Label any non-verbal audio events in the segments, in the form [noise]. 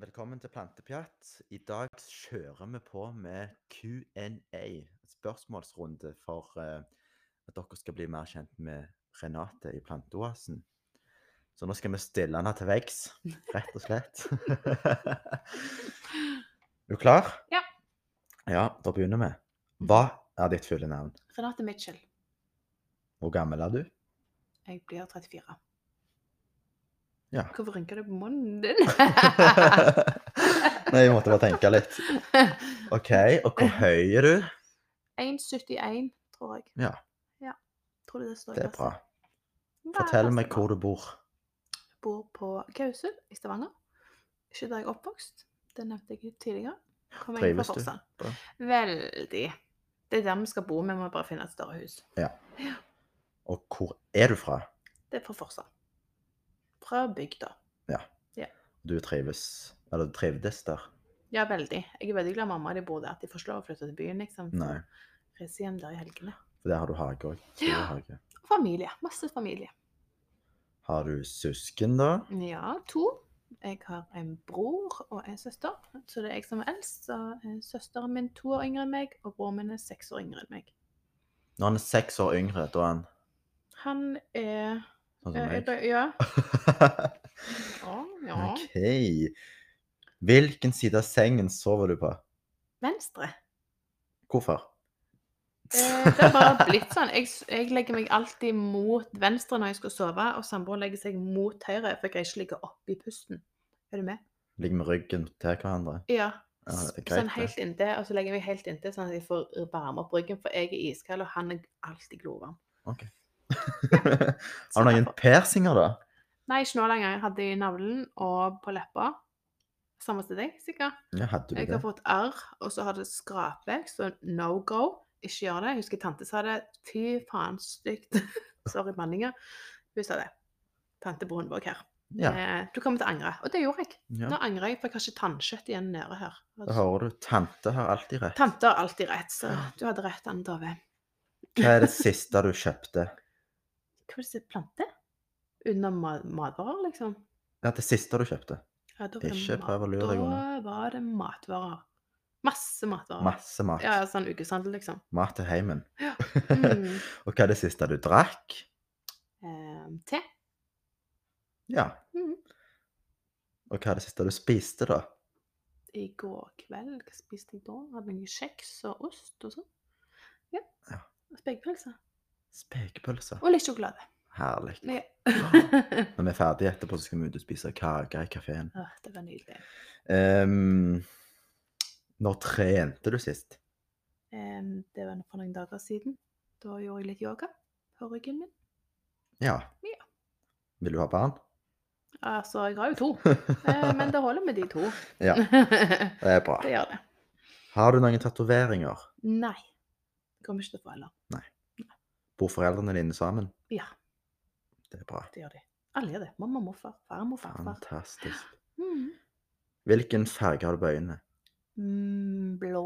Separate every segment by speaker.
Speaker 1: velkommen til Plantepjatt. I dag kjører vi på med Q&A, spørsmålsrunde for eh, at dere skal bli mer kjent med Renate i Planteoasen. Så nå skal vi stille henne til veggs, rett og slett. [laughs] er du klar?
Speaker 2: Ja.
Speaker 1: Ja, da begynner vi. Hva er ditt fulle navn?
Speaker 2: Renate Mitchell.
Speaker 1: Hvor gammel er du?
Speaker 2: Jeg blir 34.
Speaker 1: Ja.
Speaker 2: Hvorfor rynker du på munnen
Speaker 1: [laughs]
Speaker 2: din?
Speaker 1: Nei, jeg måtte bare tenke litt. OK, og hvor høy er du?
Speaker 2: 1,71, tror jeg.
Speaker 1: Ja.
Speaker 2: ja. Tror det, det, står i
Speaker 1: Det er
Speaker 2: passet.
Speaker 1: bra.
Speaker 2: Nei,
Speaker 1: Fortell
Speaker 2: passer
Speaker 1: meg
Speaker 2: bra.
Speaker 1: hvor du bor.
Speaker 2: Jeg bor på Gausel i Stavanger. Ikke der jeg er oppvokst. Det nevnte jeg tidligere. Kommer inn fra
Speaker 1: Trives du
Speaker 2: Forsand.
Speaker 1: bra?
Speaker 2: Veldig. Det er der vi skal bo, vi må bare finne et større hus.
Speaker 1: Og hvor er du fra?
Speaker 2: Det er fra Forsand. Fra bygda.
Speaker 1: Du trives, eller du trivdes der?
Speaker 2: Ja, veldig. Jeg er veldig glad mamma og de bor der, at de får ikke lov å flytte til byen, liksom. for
Speaker 1: Nei,
Speaker 2: å Reise hjem der i helgene.
Speaker 1: for der har du hage òg.
Speaker 2: Ja. Og familie. Masse familie.
Speaker 1: Har du søsken, da?
Speaker 2: Ja, to. Jeg har en bror og en søster, så det er jeg som er eldst. Så eh, søsteren min to år yngre enn meg, og broren min er seks år yngre enn meg.
Speaker 1: Når han er seks år yngre, da er han
Speaker 2: Han er
Speaker 1: sånn som
Speaker 2: eh,
Speaker 1: meg. [laughs]
Speaker 2: er- Ja. ja, ja.
Speaker 1: OK. Hvilken side av sengen sover du på?
Speaker 2: Venstre.
Speaker 1: Hvorfor?
Speaker 2: Eh, Det har bare blitt sånn. Jeg, s- jeg legger meg alltid mot venstre når jeg skal sove, og samboeren legger seg mot høyre, for jeg greier ikke å ligge oppe i pusten. Er du med?
Speaker 1: Ligger med ryggen til hverandre?
Speaker 2: Ja.
Speaker 1: Ja, det er greit,
Speaker 2: sånn
Speaker 1: det.
Speaker 2: helt inntil, og så legger jeg meg helt inntil, sånn at jeg får varme opp ryggen, for jeg er iskald, og han er alltid glovarm.
Speaker 1: OK. [laughs] Har du noen persinger, da?
Speaker 2: Nei, ikke nå lenger. Jeg hadde i navlen og på leppa. Samme sted deg, sikkert.
Speaker 1: Ja, hadde du
Speaker 2: Jeg har
Speaker 1: det?
Speaker 2: fått arr, og så har det skrapet, så no go. Ikke gjør det. Jeg husker tante sa det. Fy faen, stygt. [laughs] Sorry, manninger. Hun sa det. Tante Brunvåg her.
Speaker 1: Ja.
Speaker 2: Eh, Du kommer til å angre. Og det gjorde jeg.
Speaker 1: ja.
Speaker 2: Nå angrer jeg, for jeg har ikke tannkjøtt igjen nede her.
Speaker 1: Da hører du. Tante har alltid rett.
Speaker 2: Tante har alltid rett, så du hadde rett, Anne Dove.
Speaker 1: Hva er det siste du kjøpte?
Speaker 2: Hva er det plante? Under ma- matvarer, liksom?
Speaker 1: Ja, det siste du kjøpte.
Speaker 2: Ja, da var det
Speaker 1: Ikke
Speaker 2: mat-
Speaker 1: prøv å lure deg unna.
Speaker 2: Da var det matvarer. Masse matvarer.
Speaker 1: Masse mat.
Speaker 2: Ja, ja, sånn ukeshandel, liksom.
Speaker 1: Mat til heimen. [laughs]
Speaker 2: Mm.
Speaker 1: og hva er det siste du drakk?
Speaker 2: Eh, te.
Speaker 1: Ja.
Speaker 2: Mhm.
Speaker 1: Og hva er det siste du spiste, da?
Speaker 2: I går kveld, hva spiste jeg da? Hadde noe kjeks og ost og sånn. Ja.
Speaker 1: Ja.
Speaker 2: Spekepølse.
Speaker 1: Spekepølse.
Speaker 2: Og litt sjokolade.
Speaker 1: Herlig. [laughs]
Speaker 2: Ja.
Speaker 1: [gasps] Når vi er ferdige etterpå, så skal vi ut og spise kake i kafeen.
Speaker 2: Åh, det var nydelig.
Speaker 1: Um, når trente du sist?
Speaker 2: Eh, det var for noen dager siden. Da gjorde jeg litt yoga på ryggen min.
Speaker 1: Ja.
Speaker 2: Ja.
Speaker 1: Vil du ha barn?
Speaker 2: Altså, jeg har jo to, eh, men det holder med de to.
Speaker 1: Ja.
Speaker 2: det
Speaker 1: Det er bra.
Speaker 2: gjør [laughs] det.
Speaker 1: Har du noen tatoveringer?
Speaker 2: Nei. Kommer ikke til å få heller.
Speaker 1: Bor foreldrene dine sammen?
Speaker 2: Ja.
Speaker 1: Det er bra.
Speaker 2: Det gjør de. Alle gjør det. Mamma, morfar, farmor, farfar.
Speaker 1: Fantastisk.
Speaker 2: Mm.
Speaker 1: Hvilken farge har du på øynene?
Speaker 2: Mm, blå.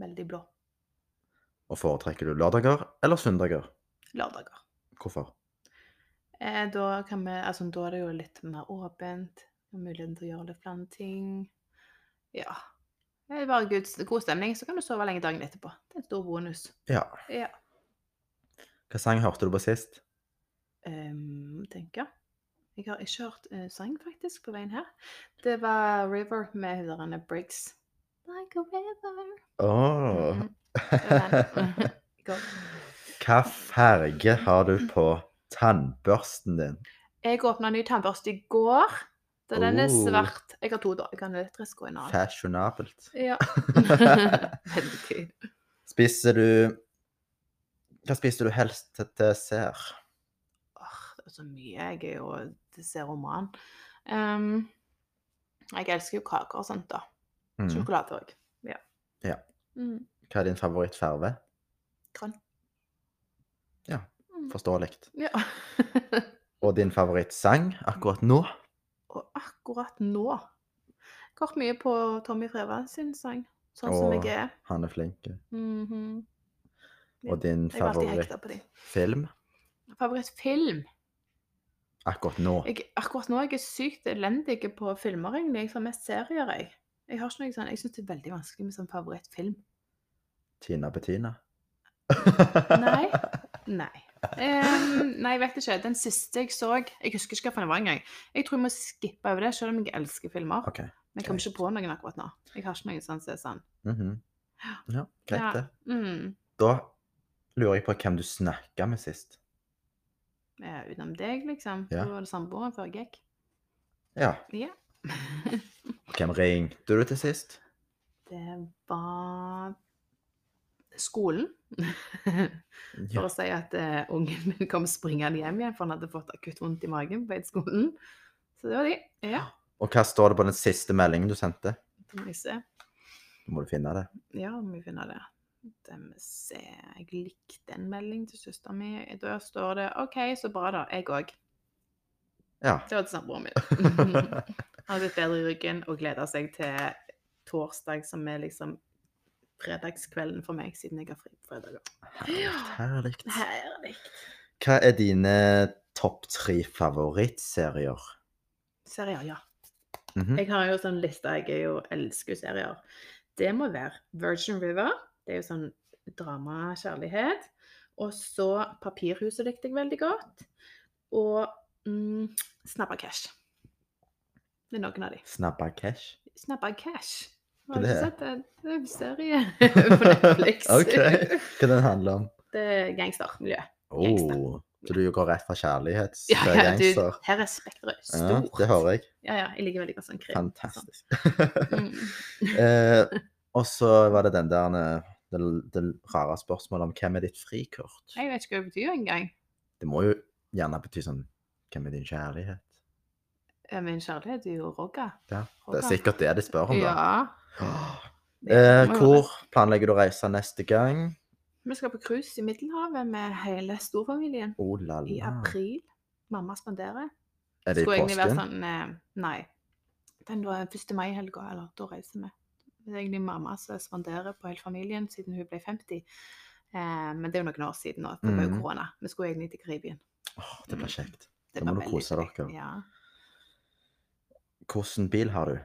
Speaker 2: Veldig blå.
Speaker 1: Og foretrekker du lørdager eller søndager?
Speaker 2: Lørdager.
Speaker 1: Hvorfor?
Speaker 2: Eh, da, kan vi, altså, da er det jo litt mer åpent. og Muligheten til å gjøre litt flere ting. Ja. Det er bare guds, god stemning, så kan du sove lenge dagen etterpå. Det er en stor bonus.
Speaker 1: Ja.
Speaker 2: Ja.
Speaker 1: Hva sang hørte du på sist?
Speaker 2: Um, tenker. Jeg har ikke hørt eh, sang, faktisk, på veien her. Det var River med hun der Anne Briggs. Like a river.
Speaker 1: Åh.
Speaker 2: Mhm. Det var den. Godt.
Speaker 1: [laughs] Hva farge har du på tannbørsten din?
Speaker 2: Jeg åpna ny tannbørste i går. Så den er
Speaker 1: Oh.
Speaker 2: svart. Jeg har to, da. Jeg kan elektrisk og en annen.
Speaker 1: Fashionabelt. [laughs]
Speaker 2: Ja. Veldig gøy.
Speaker 1: Spiser du Hva spiser du helst til dessert?
Speaker 2: Åh, det er så mye. Jeg er jo dessertroman. Um, jeg elsker jo kaker og sånt, da.
Speaker 1: Mm.
Speaker 2: Sjokolade òg. Ja.
Speaker 1: Ja.
Speaker 2: Mm.
Speaker 1: Hva er din favorittfarge?
Speaker 2: Grønn.
Speaker 1: Ja.
Speaker 2: Mm.
Speaker 1: Forståelig.
Speaker 2: ja. [laughs]
Speaker 1: Og din favorittsang akkurat nå?
Speaker 2: og akkurat nå Jeg har hørt mye på Tommy Frevald sin sang, sånn som
Speaker 1: Åh.
Speaker 2: jeg er.
Speaker 1: Han er flink.
Speaker 2: Mhm.
Speaker 1: Og din
Speaker 2: Jeg er alltid hekta på dem.
Speaker 1: favorittfilm?
Speaker 2: Favorittfilm?
Speaker 1: akkurat nå?
Speaker 2: Jeg, akkurat nå er jeg sykt elendig på filmer, egentlig. Jeg har mest serier, jeg. Jeg, har ikke noe sånn, jeg syns det er veldig vanskelig med sånn favorittfilm.
Speaker 1: Tina Bettina?
Speaker 2: Nei. Nei. Em, nei, jeg vet ikke. Den siste jeg så Jeg husker ikke hva den var engang. Jeg tror jeg må skippe over det, selv om jeg elsker filmer.
Speaker 1: [laughs] OK.
Speaker 2: Men jeg kommer ikke på noen akkurat nå. Jeg har ikke noen sånn som er sånn.
Speaker 1: Mhm. Ja,
Speaker 2: Ja.
Speaker 1: greit det.
Speaker 2: Mm.
Speaker 1: Da lurer jeg på hvem du snakka med sist.
Speaker 2: Eh, Utenom deg, liksom.
Speaker 1: Ja.
Speaker 2: Du var det samboeren før jeg gikk.
Speaker 1: Ja.
Speaker 2: Ja.
Speaker 1: Hvem ringte du til sist?
Speaker 2: Det var skolen. [laughs] For
Speaker 1: Ja.
Speaker 2: å si at eh, ungen min kom springende hjem igjen, for han hadde fått akutt vondt i magen på skolen. Så det var de. Ja.
Speaker 1: Og hva står det på den siste meldingen du sendte?
Speaker 2: Da må jeg se.
Speaker 1: Nå må du finne det.
Speaker 2: Ja, om vi finner det. Det må vi se. Jeg likte en melding til søsteren min. Da står det OK, så bra, da. Jeg òg.
Speaker 1: Ja.
Speaker 2: Det var til samboeren min.
Speaker 1: [laughs]
Speaker 2: Han har blitt bedre i ryggen og gleder seg til torsdag, som er liksom fredagskvelden for meg, siden jeg har fri på fredager.
Speaker 1: Herlig.
Speaker 2: Herlig.
Speaker 1: Hva er dine topp tre favorittserier?
Speaker 2: Serier, ja.
Speaker 1: Mhm.
Speaker 2: Jeg har jo sånn liste, jeg er jo elsker jo serier. Det må være Virgin River. Det er jo sånn drama-kjærlighet. Og så Papirhuset likte jeg veldig godt. Og mm, Snabba Cash. Det er noen av de.
Speaker 1: Snabba cash?
Speaker 2: Snabba Cash.
Speaker 1: Hva
Speaker 2: Har du
Speaker 1: er
Speaker 2: ikke
Speaker 1: det?
Speaker 2: sett det? Det er en serie [laughs] på Netflix.
Speaker 1: [laughs] ok. Hva den handler om?
Speaker 2: Det er gangstermiljø. Gangster.
Speaker 1: Oh, så du går rett fra kjærlighet
Speaker 2: Ja,
Speaker 1: til
Speaker 2: ja, du,
Speaker 1: gangster?
Speaker 2: her er spekteret
Speaker 1: Ja,
Speaker 2: stort.
Speaker 1: det hører jeg.
Speaker 2: Ja, ja, jeg liker veldig godt sånn krim.
Speaker 1: Fantastisk.
Speaker 2: Sånn. Mm.
Speaker 1: [laughs] eh, og så var det den der eh, det, det rare spørsmålet om hvem er ditt frikort?
Speaker 2: Jeg vet ikke hva det betyr engang.
Speaker 1: Det må jo gjerne bety sånn Hvem er din kjærlighet?
Speaker 2: Ja, Min Eh, kjærlighet er jo Rogga.
Speaker 1: Ja, det er
Speaker 2: Håper.
Speaker 1: sikkert det de spør om, da.
Speaker 2: Ja.
Speaker 1: Åh. [gasps] Eh,
Speaker 2: det må jo være
Speaker 1: hvor
Speaker 2: det.
Speaker 1: planlegger du å reise neste gang?
Speaker 2: Vi skal på cruise i Middelhavet med hele storfamilien
Speaker 1: Oh la
Speaker 2: i
Speaker 1: la.
Speaker 2: april. Mamma spanderer.
Speaker 1: Er det i
Speaker 2: Skulle egentlig være
Speaker 1: påsken?
Speaker 2: sånn eh, Nei. Den da 1. mai-helga, eller da reiser vi. Det er egentlig mamma som spanderer på hele familien siden hun ble 50. Eh, men det er jo noen år siden nå, for det var jo
Speaker 1: Mhm.
Speaker 2: korona. Vi skulle egentlig til Karibien.
Speaker 1: Åh, det blir kjekt.
Speaker 2: Det
Speaker 1: Da må
Speaker 2: var
Speaker 1: du
Speaker 2: veldig
Speaker 1: kose
Speaker 2: kjekt,
Speaker 1: dere.
Speaker 2: Ja.
Speaker 1: Hvilken bil har du?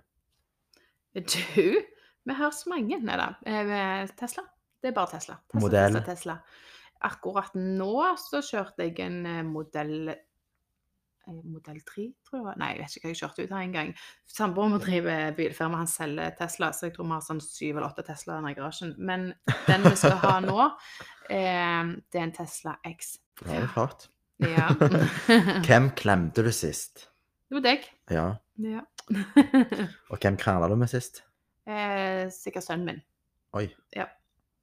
Speaker 2: Du, vi har så mange. Nei da. eh, Tesla. Det er bare Tesla. Tesla
Speaker 1: Modell?
Speaker 2: Tesla, Tesla. Akkurat nå så kjørte jeg en eh, modell eh, Modell 3, tror jeg. det var. Nei, jeg vet ikke hva jeg kjørte ut her engang. Samboeren min driver bilfirma, han selger Tesla, så jeg tror vi har sånn syv eller åtte Teslaer i garasjen. Men den vi skal ha nå, eh, det er en Tesla X.
Speaker 1: Ja, det er klart.
Speaker 2: [laughs] Ja. Det
Speaker 1: Hvem klemte du sist?
Speaker 2: var deg.
Speaker 1: Ja.
Speaker 2: Ja.
Speaker 1: Og hvem krangla du med sist?
Speaker 2: Eh, Sikkert sønnen min.
Speaker 1: Oi.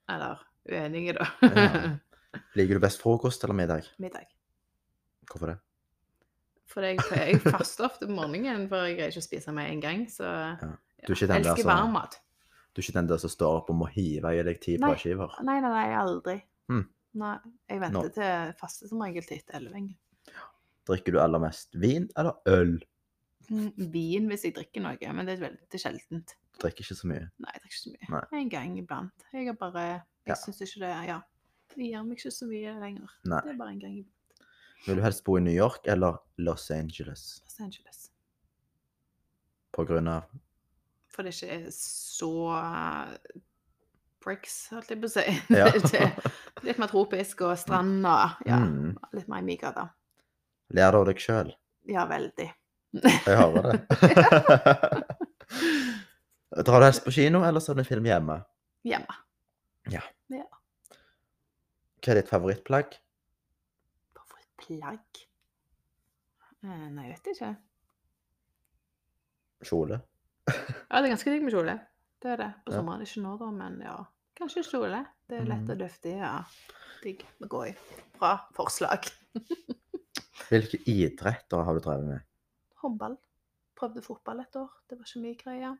Speaker 2: Eller uenige, da.
Speaker 1: Ja. Liker du best frokost eller middag?
Speaker 2: [laughs] Middag.
Speaker 1: Hvorfor det?
Speaker 2: For jeg, jeg faster ofte på morgenen, for jeg greier ikke å spise meg en gang. Så
Speaker 1: Du er ikke
Speaker 2: jeg
Speaker 1: den der
Speaker 2: elsker
Speaker 1: som,
Speaker 2: varm mat.
Speaker 1: du er ikke den der som står opp og må hive i deg ti
Speaker 2: Nei.
Speaker 1: brødskiver?
Speaker 2: Nei, nei, nei, aldri.
Speaker 1: Mm.
Speaker 2: Nei, jeg
Speaker 1: Nå.
Speaker 2: venter til faste som regel til etter elleve.
Speaker 1: Drikker du aller mest vin eller øl?
Speaker 2: Mm, Vin hvis jeg drikker noe, men det er veldig sjeldent.
Speaker 1: Du drikker ikke så mye.
Speaker 2: Nei, jeg drikker ikke så mye.
Speaker 1: Nei.
Speaker 2: En gang iblant. Jeg har bare
Speaker 1: Ja.
Speaker 2: Jeg synes syns ikke det Ja. Det gir meg ikke så mye lenger.
Speaker 1: Nei.
Speaker 2: Det er bare en gang i
Speaker 1: Vil du helst bo i New York eller Los Angeles?
Speaker 2: Los Angeles.
Speaker 1: På grunn av
Speaker 2: For det ikke er så eh, bricks, holdt jeg på å si. [laughs]
Speaker 1: Ja.
Speaker 2: det er litt mer tropisk, og stranda ja,
Speaker 1: Mm.
Speaker 2: Litt mer i min gata.
Speaker 1: Ler du av deg sjøl?
Speaker 2: Ja, veldig.
Speaker 1: Jeg hører
Speaker 2: [laughs]
Speaker 1: det. Drar du helst på kino eller ser du en film hjemme?
Speaker 2: Hjemme.
Speaker 1: Hva er ditt favorittplagg?
Speaker 2: På for et plagg? Eh, Nei, jeg vet ikke.
Speaker 1: Kjole?
Speaker 2: Ja, det er ganske digg med kjole. Det er det. På
Speaker 1: Ja. Mm.
Speaker 2: sommeren. Ikke nå, da, men ja. Kanskje kjole. Det er lett og luftig. Ja. Digg å gå i. Bra forslag.
Speaker 1: Hvilke idretter har du drevet med?
Speaker 2: Håndball. Prøvde fotball et år. Det var ikke mye greier.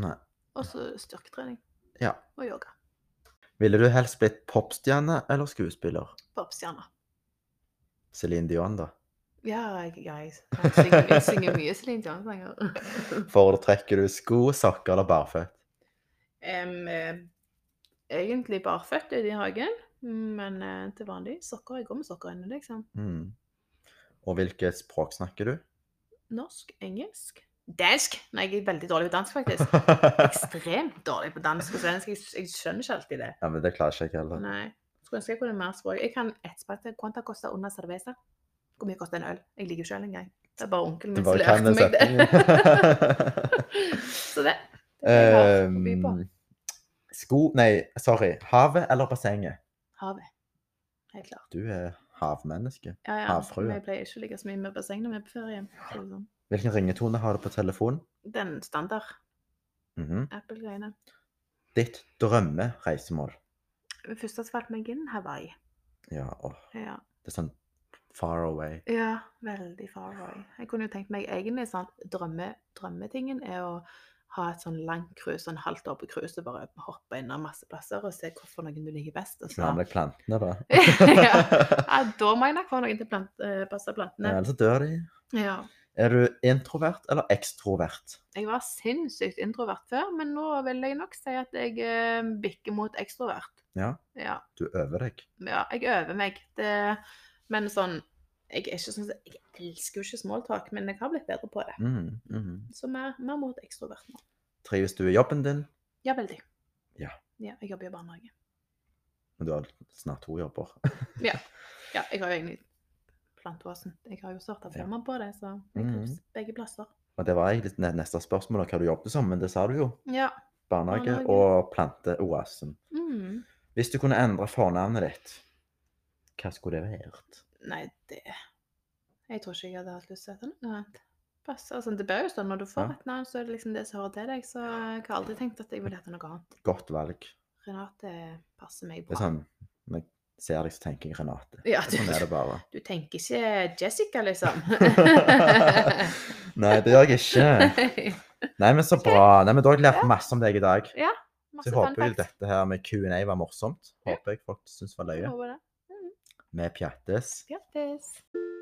Speaker 1: Nei.
Speaker 2: Og så styrketrening
Speaker 1: Ja.
Speaker 2: og yoga.
Speaker 1: Ville du helst blitt popstjerne eller skuespiller?
Speaker 2: Popstjerner.
Speaker 1: Celine Dion, da.
Speaker 2: Ja, jeg, jeg, [laughs] jeg, synger, jeg synger mye Celine Dion-sanger.
Speaker 1: Foretrekker du sko, sokker eller barføtt?
Speaker 2: [laughs] Em, eh, egentlig barføtt ute i hagen, men eh, til vanlig sokker. Jeg går med sokker inne, liksom.
Speaker 1: Mm. Og hvilket språk snakker du?
Speaker 2: Norsk? Engelsk? Dansk! Nei, jeg er veldig dårlig på dansk, [laughs] faktisk.
Speaker 1: ja,
Speaker 2: Ekstremt dårlig på dansk og svensk. Jeg, jeg skjønner ikke alltid det.
Speaker 1: men det klarer ikke jeg heller.
Speaker 2: Nei. Skulle ønske jeg kunne mer språk. Jeg kan ett språk. Quanta costa una cerveza? Hvor mye koster en øl? Jeg liker jo selv en gang. Det er bare onkelen
Speaker 1: Du
Speaker 2: min som
Speaker 1: bare kan den
Speaker 2: lærte [laughs] meg det.
Speaker 1: setningen.
Speaker 2: Så det. det er det jeg har å by på.
Speaker 1: Ehm, sko Nei, sorry. Havet eller bassenget?
Speaker 2: Havet. Helt klart.
Speaker 1: Du er havmenneske.
Speaker 2: Ja, ja.
Speaker 1: Havfrue.
Speaker 2: Vi pleier ikke å ligge så mye med basseng når vi er på ferie. så det er sånn.
Speaker 1: Hvilken ringetone har du på telefonen?
Speaker 2: Den standard
Speaker 1: Mhm.
Speaker 2: Apple-greiene.
Speaker 1: Ditt drømmereisemål.
Speaker 2: Det første som falt meg inn, Hawaii.
Speaker 1: Ja, åh.
Speaker 2: Ja.
Speaker 1: Det er sånn far away.
Speaker 2: ja, veldig far away. Jeg kunne jo tenkt meg egentlig sånn drømme, Drømmetingen er å ha et sånn langt cruise, sånn halvt år på cruise, og bare hoppe innom masse plasser og se hvorfor noen du liker best. Og så.
Speaker 1: Nærmere plantene, da.
Speaker 2: ja. [laughs]
Speaker 1: [laughs]
Speaker 2: ja, da må jeg nok få noen til å plant, eh, passe
Speaker 1: Ja,
Speaker 2: plantene.
Speaker 1: Ellers så dør de.
Speaker 2: Ja.
Speaker 1: Er du introvert eller ekstrovert?
Speaker 2: Jeg var sinnssykt introvert før, men nå vil jeg nok si at jeg eh, bikker mot ekstrovert.
Speaker 1: Ja.
Speaker 2: Ja.
Speaker 1: Du øver deg.
Speaker 2: ja, jeg øver meg. Det, men sånn jeg, er ikke sånn, jeg elsker jo ikke smalltalk, men jeg har blitt bedre på det.
Speaker 1: Mhm, mhm.
Speaker 2: Så mer, mer mot ekstrovert nå.
Speaker 1: Trives du i jobben din?
Speaker 2: Ja, veldig.
Speaker 1: Ja.
Speaker 2: Jeg jobber i barnehage.
Speaker 1: Men du har snart to jobber. [laughs]
Speaker 2: Ja, jeg har jo egentlig Planteåsen. Jeg har jo starta
Speaker 1: Ja.
Speaker 2: firma på det, så jeg
Speaker 1: Mhm.
Speaker 2: trives begge plasser.
Speaker 1: Og det var egentlig ne- neste spørsmål, da, hva du jobbet som, men det sa du jo.
Speaker 2: Ja.
Speaker 1: Barnehage
Speaker 2: Barnehage.
Speaker 1: og planteoasen.
Speaker 2: Mm.
Speaker 1: Hvis du kunne endre fornavnet ditt, hva skulle det vært?
Speaker 2: Nei, det Jeg tror ikke jeg hadde hatt lyst til å hete noe annet. Pass, altså, det bør jo stå når du får
Speaker 1: Ja.
Speaker 2: et navn, så er det liksom det som hører til deg. Så jeg har aldri tenkt at jeg ville hete noe annet.
Speaker 1: Godt valg.
Speaker 2: Renate passer meg
Speaker 1: Det er
Speaker 2: bra.
Speaker 1: sånn, når jeg ser deg, så tenker jeg Renate.
Speaker 2: Ja,
Speaker 1: [laughs]
Speaker 2: du,
Speaker 1: Sånn er det bare.
Speaker 2: [laughs] du tenker ikke Jessica, liksom. [laughs]
Speaker 1: Nei, det gjør jeg ikke. [laughs] Nei, men så bra. Nei, men Da har jeg lært masse om deg i dag. Så
Speaker 2: Masse
Speaker 1: jeg
Speaker 2: fun
Speaker 1: håper jo
Speaker 2: facts.
Speaker 1: dette her med Q&A var morsomt. Håper jeg folk syns var
Speaker 2: Jeg
Speaker 1: løye.
Speaker 2: håper det.
Speaker 1: Vi pjattes.
Speaker 2: Grattis.